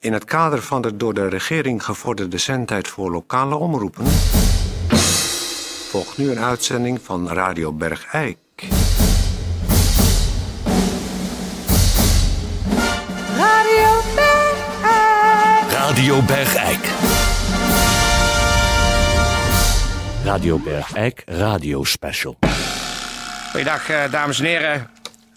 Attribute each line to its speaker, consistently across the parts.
Speaker 1: in het kader van de door de regering gevorderde zendtijd voor lokale omroepen. volgt nu een uitzending van Radio Bergijk.
Speaker 2: Radio Bergijk.
Speaker 3: Radio Bergijk. Radio Bergijk Radio Special.
Speaker 4: Goedendag, eh, dames en heren.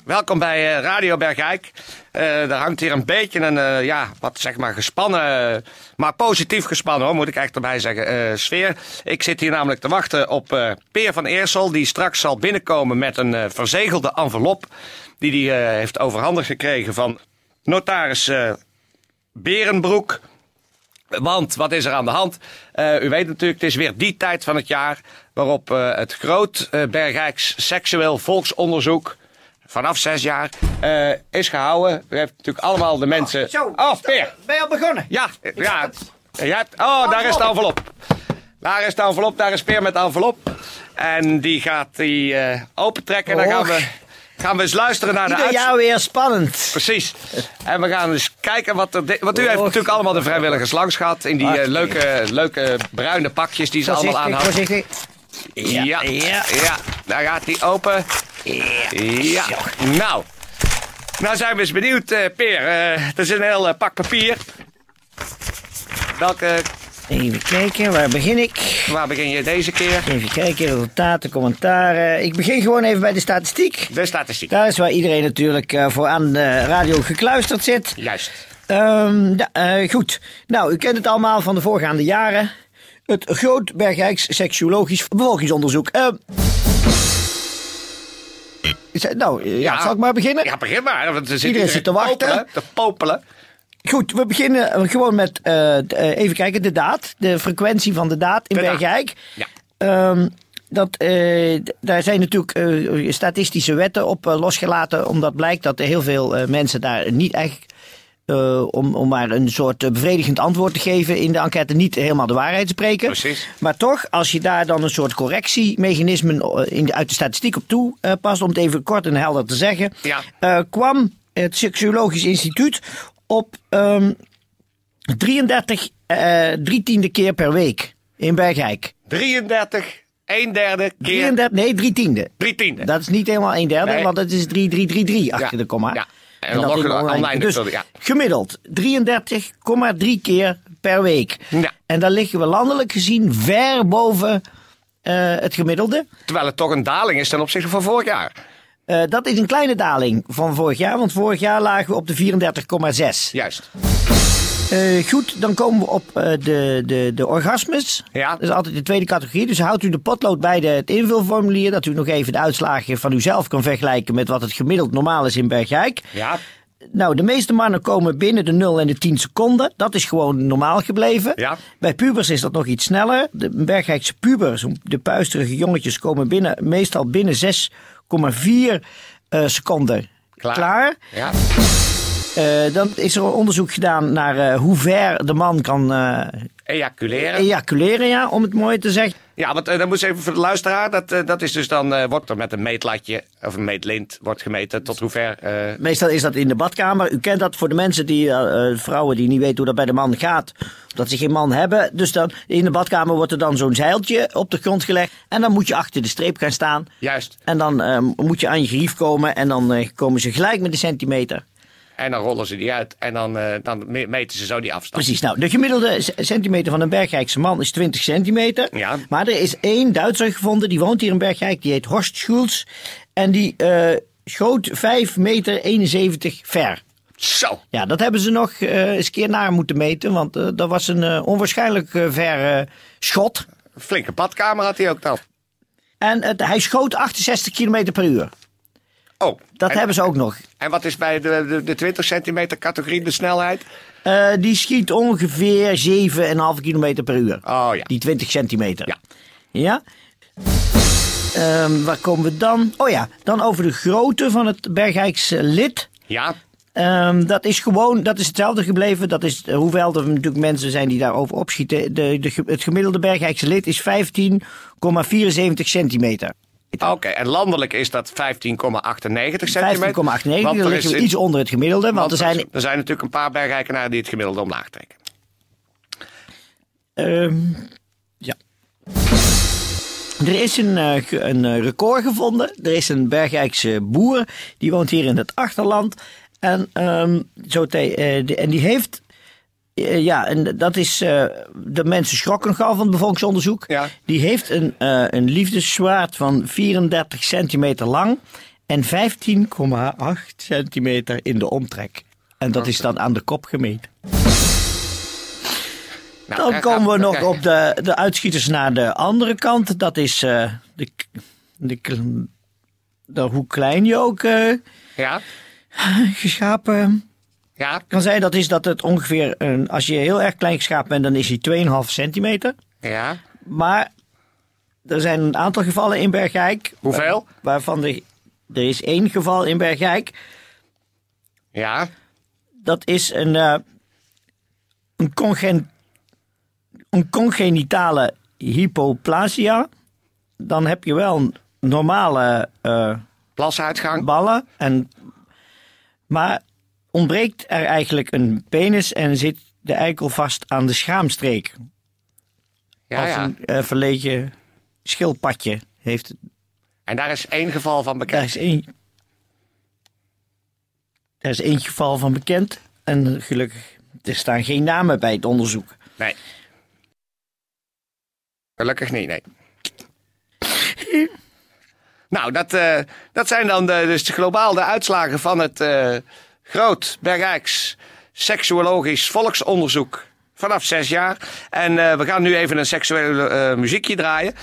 Speaker 4: Welkom bij eh, Radio Bergijk. Eh er hangt hier een beetje een, eh, ja, wat zeg maar gespannen, eh, maar positief gespannen hoor, moet ik echt erbij zeggen, eh, sfeer. Ik zit hier namelijk te wachten op eh Peer van Eersel, die straks zal binnenkomen met een eh, verzegelde envelop. Die, die hij eh, heeft overhandig gekregen van notaris eh, Berenbroek. Want wat is er aan de hand? Eh, u weet natuurlijk, het is weer die tijd van het jaar waarop eh, het groot eh, Bergijks seksueel volksonderzoek vanaf zes jaar eh, is gehouden. U heeft natuurlijk allemaal de mensen.
Speaker 5: Zo,
Speaker 4: oh, Peer.
Speaker 5: ben je al begonnen?
Speaker 4: Ja, eh, ja.
Speaker 5: het.
Speaker 4: Je hebt- oh, daar is de envelop. Daar is de envelop, daar is Peer met de envelop. En die gaat die eh, opentrekken en dan gaan we, gaan we eens luisteren naar de
Speaker 5: Ieder
Speaker 4: uitzending.
Speaker 5: jaar weer spannend.
Speaker 4: Precies. En we gaan eens kijken wat er. Want u heeft
Speaker 5: Och.
Speaker 4: natuurlijk allemaal de vrijwilligers langs gehad. In die eh,
Speaker 5: Ach, nee.
Speaker 4: leuke, leuke bruine pakjes die ze allemaal aan
Speaker 5: Ah. Voorzichtig,
Speaker 4: hadden.
Speaker 5: voorzichtig.
Speaker 4: Ja, ja,
Speaker 5: ja.
Speaker 4: Daar gaat hij open. Ja. Nou. Nou zijn we eens benieuwd, eh, Peer. Eh, het is een heel eh, pak papier. Welke,
Speaker 5: Even kijken, waar begin ik?
Speaker 4: waar begin je deze keer?
Speaker 5: Even kijken, resultaten, commentaren. Ik begin gewoon even bij de statistiek.
Speaker 4: De statistiek.
Speaker 5: Daar is waar iedereen natuurlijk eh, voor aan de radio gekluisterd zit.
Speaker 4: Juist.
Speaker 5: Ehm, ja, eh, goed, nou, u kent het allemaal van de voorgaande jaren. Het Groot Bergijks Seksuologisch Bevolkingsonderzoek. Ehm. Is het- nou, ja,
Speaker 4: Ja.
Speaker 5: zal ik maar beginnen?
Speaker 4: Ja, begin maar. Want er zit
Speaker 5: Iedereen zit te wachten.
Speaker 4: popelen, te popelen.
Speaker 5: Goed, we beginnen gewoon met eh, d- eh, even kijken, de daad. De frequentie van de daad in
Speaker 4: De daad.
Speaker 5: Bergijk.
Speaker 4: Ja.
Speaker 5: Ehm, dat, eh, d- daar zijn natuurlijk eh, statistische wetten op eh, losgelaten. Omdat blijkt dat er heel veel eh, mensen daar niet eigenlijk. eh, om, om maar een soort eh, bevredigend antwoord te geven in de enquête, niet helemaal de waarheid spreken.
Speaker 4: Precies.
Speaker 5: Maar toch, als je daar dan een soort correctiemechanisme eh, in de, uit de statistiek op toe eh, past, om het even kort en helder te zeggen,
Speaker 4: Ja.
Speaker 5: eh, kwam het Seksuologisch Instituut op ehm 33, eh drie tiende keer per week in Bergijk.
Speaker 4: 33, 1 derde keer.
Speaker 5: 33, nee, drie tiende.
Speaker 4: 3 tiende.
Speaker 5: Dat is niet helemaal een derde,
Speaker 4: Nee.
Speaker 5: want dat is 3-3-3-3 achter
Speaker 4: Ja,
Speaker 5: de komma.
Speaker 4: ja. En
Speaker 5: dat
Speaker 4: dan log je
Speaker 5: in
Speaker 4: dan
Speaker 5: online.
Speaker 4: online
Speaker 5: Dus
Speaker 4: natuurlijk, ja.
Speaker 5: gemiddeld 33,3 keer per week.
Speaker 4: Ja.
Speaker 5: En daar liggen we landelijk gezien ver boven eh, het gemiddelde.
Speaker 4: Terwijl het toch een daling is ten opzichte van vorig jaar.
Speaker 5: Eh, dat is een kleine daling van vorig jaar, want vorig jaar lagen we op de 34,6.
Speaker 4: Juist.
Speaker 5: Eh, goed, dan komen we op eh, de, de, de orgasmes.
Speaker 4: Ja.
Speaker 5: Dat is altijd de tweede categorie. Dus houdt u de potlood bij de, het invulformulier. Dat u nog even de uitslagen van uzelf kan vergelijken met wat het gemiddeld normaal is in Bergijk.
Speaker 4: Ja.
Speaker 5: Nou, de meeste mannen komen binnen de 0 en de 10 seconden. Dat is gewoon normaal gebleven.
Speaker 4: Ja.
Speaker 5: Bij pubers is dat nog iets sneller. De Bergijkse pubers, de puisterige jongetjes, komen binnen, meestal binnen 6,4 eh, seconden
Speaker 4: Klaar.
Speaker 5: klaar.
Speaker 4: Ja.
Speaker 5: Eh, dan is er een onderzoek gedaan naar eh, hoe ver de man kan eh,
Speaker 4: Ejaculeren.
Speaker 5: e- ejaculeren, ja, om het mooi te zeggen.
Speaker 4: Ja, want eh, dan moet je even voor de luisteraar. Dat, eh, dat is dus dan, eh, wordt er met een meetlatje of een meetlint wordt gemeten tot hoever. eh,
Speaker 5: Meestal is dat in de badkamer. U kent dat voor de mensen die, eh, eh, vrouwen die niet weten hoe dat bij de man gaat. Dat ze geen man hebben. Dus dan, in de badkamer wordt er dan zo'n zeiltje op de grond gelegd. En dan moet je achter de streep gaan staan.
Speaker 4: juist.
Speaker 5: En dan eh, moet je aan je gerief komen. En dan eh, komen ze gelijk met een centimeter.
Speaker 4: En dan rollen ze die uit en dan, eh, dan me- meten ze zo die afstand.
Speaker 5: Precies. Nou, de gemiddelde c- centimeter van een Bergrijkse man is 20 centimeter.
Speaker 4: Ja.
Speaker 5: Maar er is één Duitser gevonden, die woont hier in Bergrijk. Die heet Horst Schulz. En die eh, schoot 5 meter 71 ver.
Speaker 4: Zo.
Speaker 5: Ja, dat hebben ze nog eh, eens een keer naar moeten meten. Want eh, dat was een eh, onwaarschijnlijk eh, ver eh, schot.
Speaker 4: Flinke badkamer had hij ook dan.
Speaker 5: En het, hij schoot 68 kilometer per uur.
Speaker 4: Oh.
Speaker 5: Dat
Speaker 4: en,
Speaker 5: hebben ze ook nog.
Speaker 4: En wat is bij de, de, de 20 centimeter categorie de snelheid?
Speaker 5: Eh, die schiet ongeveer 7,5 kilometer per uur.
Speaker 4: Oh ja.
Speaker 5: Die 20 centimeter.
Speaker 4: Ja.
Speaker 5: Ja? Ehm, waar komen we dan? Oh ja, dan over de grootte van het Bergijkse lid.
Speaker 4: Ja.
Speaker 5: Ehm, dat is gewoon, dat is hetzelfde gebleven. Dat is, eh, hoewel er natuurlijk mensen zijn die daarover opschieten. De, de, ge- het gemiddelde Bergijkse lid is 15,74 centimeter. Ik-
Speaker 4: Oké, en landelijk is dat 15,98 centimeter.
Speaker 5: 15,89.
Speaker 4: Want
Speaker 5: Dan
Speaker 4: er
Speaker 5: liggen
Speaker 4: is
Speaker 5: we
Speaker 4: in-
Speaker 5: iets onder het gemiddelde. Want, er zijn.
Speaker 4: er zijn natuurlijk een paar bergrijkenaren die het gemiddelde omlaag trekken.
Speaker 5: ehm, ja. Er is een, eh, ge- een eh, record gevonden. Er is een Bergijkse boer. Die woont hier in het achterland. En, ehm, zo te- eh, de- en die heeft. eh, ja, en dat is. eh, de mensen schrokken gauw van het bevolkingsonderzoek.
Speaker 4: Ja.
Speaker 5: Die heeft een, eh, een liefdeszwaard van 34 centimeter lang. En 15,8 centimeter in de omtrek. En dat is dan aan de kop gemeten.
Speaker 4: Nou,
Speaker 5: Dan
Speaker 4: daar
Speaker 5: komen we
Speaker 4: gaan-
Speaker 5: nog
Speaker 4: daar-
Speaker 5: op de, de uitschieters naar de andere kant. Dat is eh, de, k- de, kl- de, hoe klein je ook eh,
Speaker 4: Ja,
Speaker 5: geschapen
Speaker 4: ja,
Speaker 5: kan zijn. Dat is dat het ongeveer, een, als je heel erg klein geschapen bent, dan is hij 2,5 centimeter.
Speaker 4: ja.
Speaker 5: Maar er zijn een aantal gevallen in Bergijk.
Speaker 4: Hoeveel?
Speaker 5: waar- waarvan de, er is één geval in Bergijk.
Speaker 4: Ja,
Speaker 5: Dat is een, eh, een, congen, een congenitale hypoplasia. Dan heb je wel een normale eh,
Speaker 4: plasuitgang.
Speaker 5: ballen. En, maar ontbreekt er eigenlijk een penis en zit de eikel vast aan de schaamstreek.
Speaker 4: Ja,
Speaker 5: als
Speaker 4: ja.
Speaker 5: een eh, verlegen schildpadje heeft.
Speaker 4: En daar is één geval van
Speaker 5: Daar
Speaker 4: bekend.
Speaker 5: is één. Daar is één geval van bekend. En gelukkig, er staan geen namen bij het onderzoek.
Speaker 4: Nee. Gelukkig niet, nee. nou, dat, eh, dat zijn dan de, dus de globaal de uitslagen van het eh, Groot Bergrijks Seksuologisch Volksonderzoek vanaf zes jaar. En eh, we gaan nu even een seksuele eh, muziekje draaien.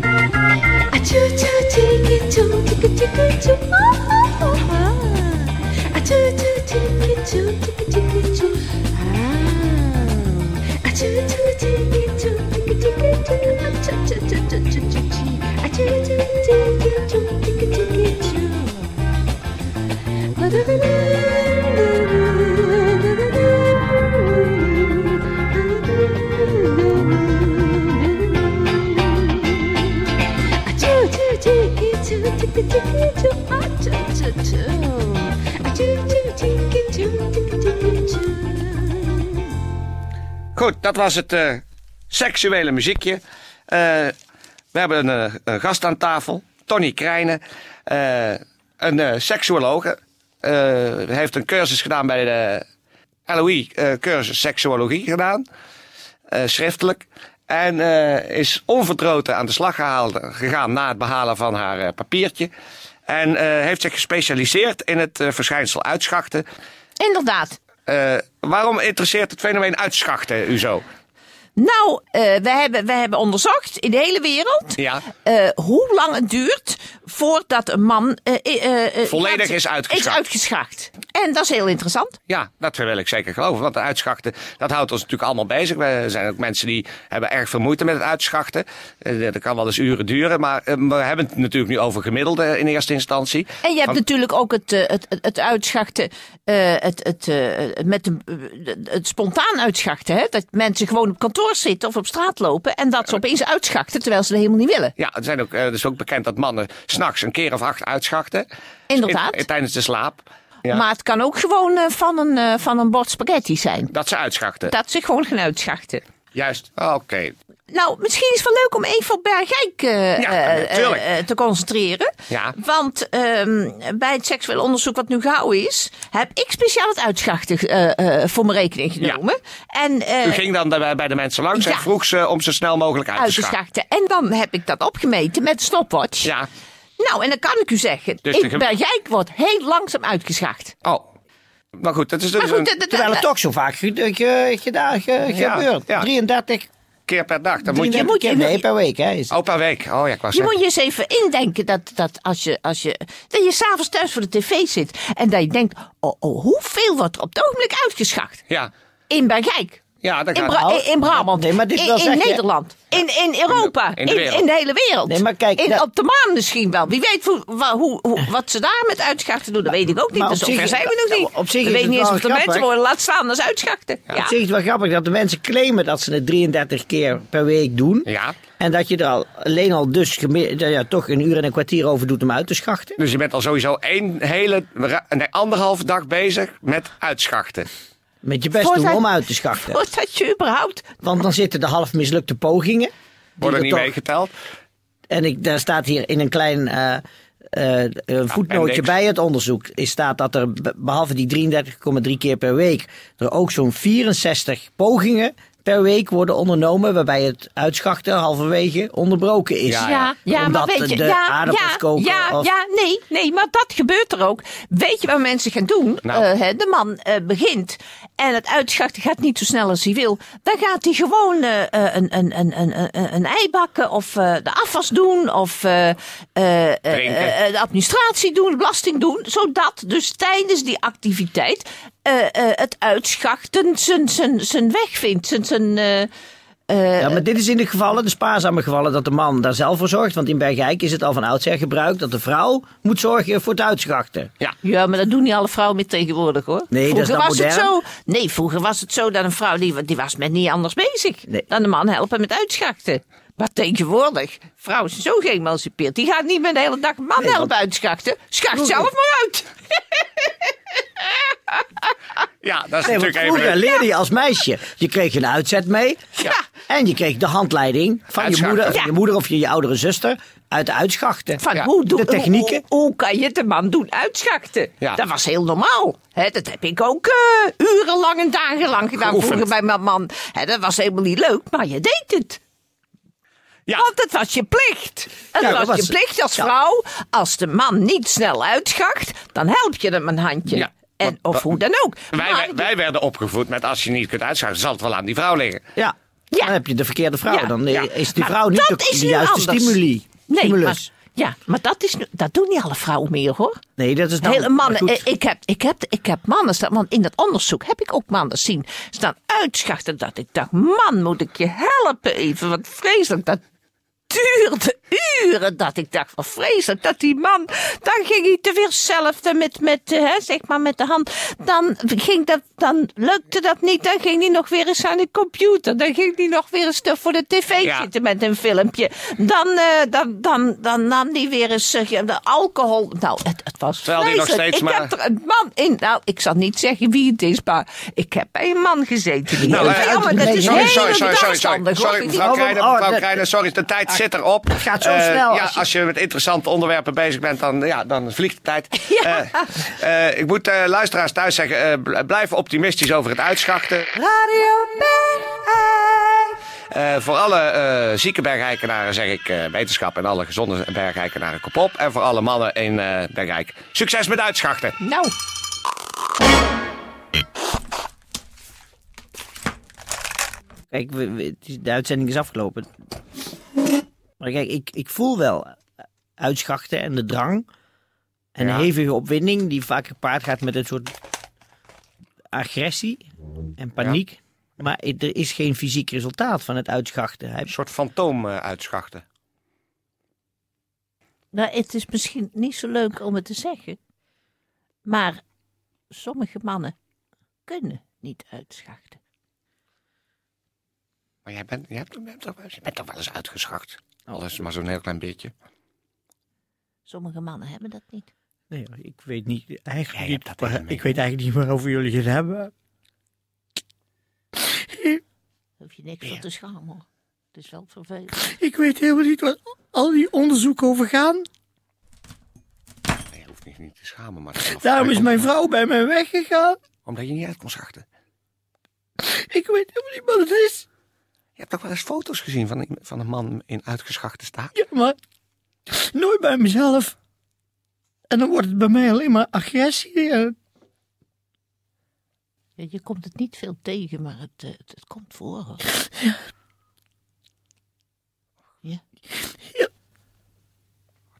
Speaker 2: Achoo, choo, tiki, choo, tiki, tiki, choo, ah, ah, ah, ah. Achoo, choo, tiki, choo, tiki, tiki, choo, ah. Achoo, choo, tiki, choo, tiki, tiki, choo, ah, choo, choo, choo, choo, choo, choo, choo. Achoo, choo, tiki, choo, tiki, tiki, choo. Achoo, choo, tiki, choo, tiki, tiki, choo, ah, choo, choo, choo. Achoo, choo, tiki, choo, tiki, tiki, choo.
Speaker 4: Goed, dat was het eh, seksuele muziekje. Eh, we hebben een, eh, een gast aan tafel, Tony Krijnen. eh, een eh seksuoloog. eh, eh, heeft een cursus gedaan bij de LOI, eh, cursus seksuologie gedaan. eh, schriftelijk. En eh, is onverdroten aan de slag gehaald, gegaan na het behalen van haar eh, papiertje. En eh, heeft zich gespecialiseerd in het eh, verschijnsel uitschachten.
Speaker 6: Inderdaad.
Speaker 4: Eh, waarom interesseert het fenomeen uitschachten u zo?
Speaker 6: Nou, eh, we, hebben, we hebben onderzocht in de hele wereld
Speaker 4: Ja.
Speaker 6: eh, hoe lang het duurt voordat een man eh, eh, eh,
Speaker 4: Volledig
Speaker 6: gaat-
Speaker 4: is uitgeschacht.
Speaker 6: is uitgeschacht. En dat is heel interessant.
Speaker 4: Ja, dat wil ik zeker geloven. Want de uitschachten, dat houdt ons natuurlijk allemaal bezig. We zijn ook mensen die hebben erg veel moeite met het uitschachten. Eh, Dat kan wel eens uren duren. Maar eh, we hebben het natuurlijk nu over gemiddelde in eerste instantie.
Speaker 6: En je hebt
Speaker 4: Want-
Speaker 6: natuurlijk ook het, eh, het, het, het uitschachten, eh, het, het, eh, met de, het spontaan uitschachten. Hè? Dat mensen gewoon op kantoor zitten of op straat lopen en dat ze opeens uitschachten terwijl ze dat helemaal niet willen.
Speaker 4: Ja, er zijn ook, eh, het is ook bekend dat mannen s'nachts een keer of acht uitschachten.
Speaker 6: Inderdaad.
Speaker 4: In- tijdens de slaap. Ja,
Speaker 6: Maar het kan ook gewoon eh, van, een, eh, van een bord spaghetti zijn.
Speaker 4: Dat ze uitschachten.
Speaker 6: Dat ze gewoon gaan uitschachten.
Speaker 4: Juist. Ah, Oké.
Speaker 6: Nou, misschien is het wel leuk om even op Bergijk eh,
Speaker 4: Ja,
Speaker 6: eh,
Speaker 4: natuurlijk.
Speaker 6: eh, eh, te concentreren.
Speaker 4: Ja.
Speaker 6: Want ehm, bij het seksueel onderzoek wat nu gauw is, heb ik speciaal het uitschachten eh, eh, voor mijn rekening genomen. En eh,
Speaker 4: U ging dan daarbij bij de mensen langs en
Speaker 6: Ja.
Speaker 4: vroeg ze om zo snel mogelijk uit te schachten.
Speaker 6: uitgeschachten. En dan heb ik dat opgemeten met de stopwatch.
Speaker 4: Ja.
Speaker 6: Nou, en dan kan ik u zeggen,
Speaker 4: Dus
Speaker 6: ik-
Speaker 4: de gem-
Speaker 6: Bergijk wordt heel langzaam uitgeschacht.
Speaker 4: Oh. Maar goed, dat is dus
Speaker 6: Maar goed,
Speaker 4: een
Speaker 6: dat- dat-
Speaker 5: Terwijl het
Speaker 6: dat-
Speaker 5: toch zo vaak ge- ge- gedaan ge-
Speaker 4: Ja,
Speaker 5: gebeurt.
Speaker 4: ja.
Speaker 5: 33,
Speaker 4: keer per dag. Dan moet
Speaker 5: 33
Speaker 4: je...
Speaker 6: moet je-
Speaker 5: keer nee, per week. Hè, is-
Speaker 4: Oh, per week. Oh ja, ik was
Speaker 6: Je moet je eens even indenken dat, dat als je, als je, dat je s'avonds thuis voor de tv zit. En dat je denkt, oh, oh, hoeveel wordt er op het ogenblik uitgeschacht?
Speaker 4: Ja.
Speaker 6: In Bergijk.
Speaker 4: Ja, dat
Speaker 6: In,
Speaker 4: gaat.
Speaker 6: Bra- in- in Brabant.
Speaker 5: nou- Nee, maar dit wil
Speaker 6: in in
Speaker 5: zeggen-
Speaker 6: Nederland. In, in Europa.
Speaker 4: In de wereld.
Speaker 6: in de hele wereld.
Speaker 5: Nee, maar kijk,
Speaker 6: in,
Speaker 5: dat-
Speaker 6: op de maan misschien wel. Wie weet hoe, wa- hoe, hoe- wat ze daar met uitschachten doen, dat weet ik ook niet.
Speaker 5: maar
Speaker 6: Dus
Speaker 5: op zich-
Speaker 6: zover zijn we nog niet.
Speaker 5: op zich
Speaker 6: we
Speaker 5: is
Speaker 6: weten
Speaker 5: het
Speaker 6: niet eens
Speaker 5: wel
Speaker 6: of de
Speaker 5: grappig.
Speaker 6: mensen worden laat staan als uitschachten. Ja.
Speaker 5: Ik vind het wel grappig dat de mensen claimen dat ze het 33 keer per week doen.
Speaker 4: Ja.
Speaker 5: En dat je er al, alleen al dus geme- ja, toch een uur en een kwartier over doet om uit te schachten.
Speaker 4: Dus je bent al sowieso één hele, ra- nee, anderhalf dag bezig met uitschachten.
Speaker 5: Met je best
Speaker 6: Voor
Speaker 5: doen
Speaker 6: zijn-
Speaker 5: om uit te schachten.
Speaker 6: Voordat je überhaupt...
Speaker 5: Want dan zitten de half mislukte pogingen. die
Speaker 4: Wordt er
Speaker 5: er
Speaker 4: niet
Speaker 5: toch-
Speaker 4: meegeteld.
Speaker 5: En ik, daar staat hier in een klein eh, eh, eh, voetnootje
Speaker 4: appendix.
Speaker 5: bij het onderzoek. Is staat dat er be- behalve die 33,3 keer per week. er ook zo'n 64 pogingen per week worden ondernomen. waarbij het uitschachten halverwege onderbroken is.
Speaker 6: Ja, ja,
Speaker 5: Omdat
Speaker 6: maar weet je,
Speaker 5: de
Speaker 6: ja,
Speaker 5: aardappels
Speaker 6: ja,
Speaker 5: koken
Speaker 6: Ja,
Speaker 5: of-
Speaker 6: ja nee, nee, maar dat gebeurt er ook. Weet je wat mensen gaan doen?
Speaker 4: Nou.
Speaker 6: Eh, hè, de man eh, begint en het uitschachten gaat niet zo snel als hij wil. Dan gaat hij gewoon eh, eh, een, een, een, een, een, een ei bakken of eh, de afwas doen of eh, eh, eh,
Speaker 4: Drinken.
Speaker 6: eh, de administratie doen, belasting doen. Zodat dus tijdens die activiteit eh, eh, het uitschachten zijn- zijn zijn weg vindt. Zijn, zijn, eh,
Speaker 5: Ja, maar dit is in de gevallen, de spaarzame gevallen, dat de man daar zelf voor zorgt. Want in Bergijk is het al van oudsher gebruikt dat de vrouw moet zorgen voor het uitschachten.
Speaker 6: Ja, maar dat doen niet alle vrouwen meer tegenwoordig hoor.
Speaker 5: Nee, dat is
Speaker 6: vroeger
Speaker 5: nou
Speaker 6: was het
Speaker 5: modern.
Speaker 6: zo. Nee, vroeger was het zo dat een vrouw die, die was met niet anders bezig
Speaker 5: Nee.
Speaker 6: dan de man helpen met uitschachten. Maar tegenwoordig, vrouwen zijn zo geëmancipeerd. Die gaat niet meer de hele dag een man helpen uitschachten. Schacht zelf maar uit.
Speaker 4: Ja, dat is
Speaker 5: Nee, want
Speaker 4: natuurlijk
Speaker 5: vroeger
Speaker 4: even...
Speaker 5: leerde je als meisje. Je kreeg een uitzet mee.
Speaker 6: Ja.
Speaker 5: En je kreeg de handleiding van je
Speaker 4: Uitschachten.
Speaker 5: moeder, van
Speaker 6: Ja.
Speaker 5: je moeder of je, je oudere zuster uit de uitschachten.
Speaker 6: Van hoe, doe,
Speaker 5: de technieken.
Speaker 6: Hoe, hoe kan je de man doen uitschachten?
Speaker 4: Ja.
Speaker 6: Dat was heel normaal. Hè, dat heb ik ook eh, urenlang en dagenlang gedaan
Speaker 4: Geoefend.
Speaker 6: vroeger bij mijn man. Hè, dat was helemaal niet leuk, maar je deed het.
Speaker 4: Ja,
Speaker 6: Want het was je plicht. Het
Speaker 5: Ja, dat
Speaker 6: was,
Speaker 5: was
Speaker 6: je
Speaker 5: het.
Speaker 6: plicht als
Speaker 5: Ja.
Speaker 6: vrouw. Als de man niet snel uitschacht, dan help je hem een handje.
Speaker 4: Ja.
Speaker 6: En, of hoe dan ook.
Speaker 4: wij,
Speaker 6: Maar-
Speaker 4: wij, wij werden opgevoed met als je niet kunt uitschuiven, zal het wel aan die vrouw liggen.
Speaker 5: Ja.
Speaker 6: Ja.
Speaker 5: Dan heb je de verkeerde vrouw.
Speaker 6: Ja.
Speaker 5: Dan eh,
Speaker 4: Ja.
Speaker 5: is die
Speaker 6: maar
Speaker 5: vrouw niet
Speaker 6: dat
Speaker 5: de,
Speaker 6: is
Speaker 5: de
Speaker 6: nu
Speaker 5: juiste
Speaker 6: anders.
Speaker 5: stimuli.
Speaker 6: Nee,
Speaker 5: Stimulus.
Speaker 6: Maar, ja, maar dat, is, nu- dat doen niet alle vrouwen meer hoor.
Speaker 5: nee, dat is dan
Speaker 6: Hele mannen,
Speaker 5: maar
Speaker 6: eh,
Speaker 5: goed.
Speaker 6: ik heb, ik, heb, ik heb mannen staan, want in dat onderzoek heb ik ook mannen zien staan uitschachten. Dat ik dacht, man, moet ik je helpen even? Wat vreselijk, dat duurde uren. Dat ik dacht, wat vreselijk, dat die man, dan ging hij te weer zelf eh, met, met, eh, hè, zeg maar met de hand. Dan, ging dat, dan lukte dat niet, dan ging hij nog weer eens aan de computer. Dan ging hij nog weer eens te- voor de tv
Speaker 4: Ja.
Speaker 6: zitten met een filmpje. Dan, eh, dan, dan, dan nam hij weer eens eh, de alcohol. Nou, het, het was
Speaker 4: Terwijl die nog
Speaker 6: vreselijk.
Speaker 4: steeds
Speaker 6: ik
Speaker 4: maar-
Speaker 6: heb er een man in. Nou, ik zal niet zeggen wie het is, maar ik heb bij een man gezeten. Die
Speaker 4: Nou,
Speaker 6: nou,
Speaker 4: eh,
Speaker 6: jongen, dat is
Speaker 5: sorry,
Speaker 6: heel
Speaker 4: Sorry, sorry, sorry, sorry, sorry,
Speaker 6: verstandig, hoor.
Speaker 4: sorry,
Speaker 6: Ik-
Speaker 4: mevrouw
Speaker 5: Oh,
Speaker 4: Kreijnen,
Speaker 5: oh,
Speaker 4: mevrouw
Speaker 5: dat-
Speaker 4: Kreijnen, sorry, de tijd zit erop. Het
Speaker 5: gaat zo snel
Speaker 4: Ja,
Speaker 5: als je-
Speaker 4: als je met interessante onderwerpen bezig bent, dan, ja, dan vliegt de tijd.
Speaker 6: Ja.
Speaker 4: Eh, eh, ik moet eh, luisteraars thuis zeggen, eh, bl- blijf optimistisch over het uitschachten. Eh, voor alle eh, zieke bergijkenaren zeg ik eh, wetenschap en alle gezonde bergijkenaren kop op. En voor alle mannen in eh Bergijk, succes met uitschachten.
Speaker 6: Nou,
Speaker 5: Kijk, we- we- het is- de uitzending is afgelopen. Maar kijk, ik, ik voel wel eh, uitschachten en de drang. En de
Speaker 4: Ja.
Speaker 5: hevige opwinding die vaak gepaard gaat met een soort agressie en paniek. Maar i- er is geen fysiek resultaat van het uitschachten. Hij-
Speaker 4: Een soort fantoom eh, uitschachten.
Speaker 6: nou, het is misschien niet zo leuk om het te zeggen, maar sommige mannen kunnen niet uitschachten.
Speaker 4: Maar jij bent, jij hebt- je bent, toch, wel eens- je bent toch wel eens uitgeschacht? Alles maar zo'n heel klein beetje.
Speaker 6: Sommige mannen hebben dat niet.
Speaker 5: Nee, ik weet niet. Eigenlijk
Speaker 4: Jij hebt
Speaker 5: niet
Speaker 4: dat
Speaker 5: waar-
Speaker 4: helemaal niet.
Speaker 5: ik weet eigenlijk niet waarover jullie het hebben.
Speaker 6: Daar hoef je niks voor te schamen, hoor. Het is wel vervelend.
Speaker 5: Ik weet helemaal niet wat al die onderzoeken over gaan.
Speaker 4: Nee, je hoeft niet, niet te schamen, maar...
Speaker 5: Daarom is mijn vrouw bij mij weggegaan.
Speaker 4: Omdat je niet uit kon schachten.
Speaker 5: Ik weet helemaal niet wat het is.
Speaker 4: Je hebt toch wel eens foto's gezien van, een- van een man in uitgeschachte staat?
Speaker 5: Ja, maar nooit bij mezelf. En dan wordt het bij mij alleen maar agressie. en-
Speaker 6: Ja, Je komt het niet veel tegen, maar het, eh, het, het komt voor. hoor. Ja,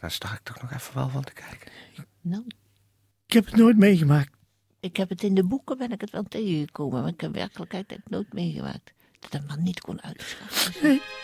Speaker 4: Daar sta ik toch nog even wel van te kijken.
Speaker 6: nou,
Speaker 5: Ik heb het nooit meegemaakt.
Speaker 6: ik heb het in de boeken ben ik het wel tegengekomen, maar ik heb in werkelijkheid heb ik nooit meegemaakt dat een man niet kon uitschatten.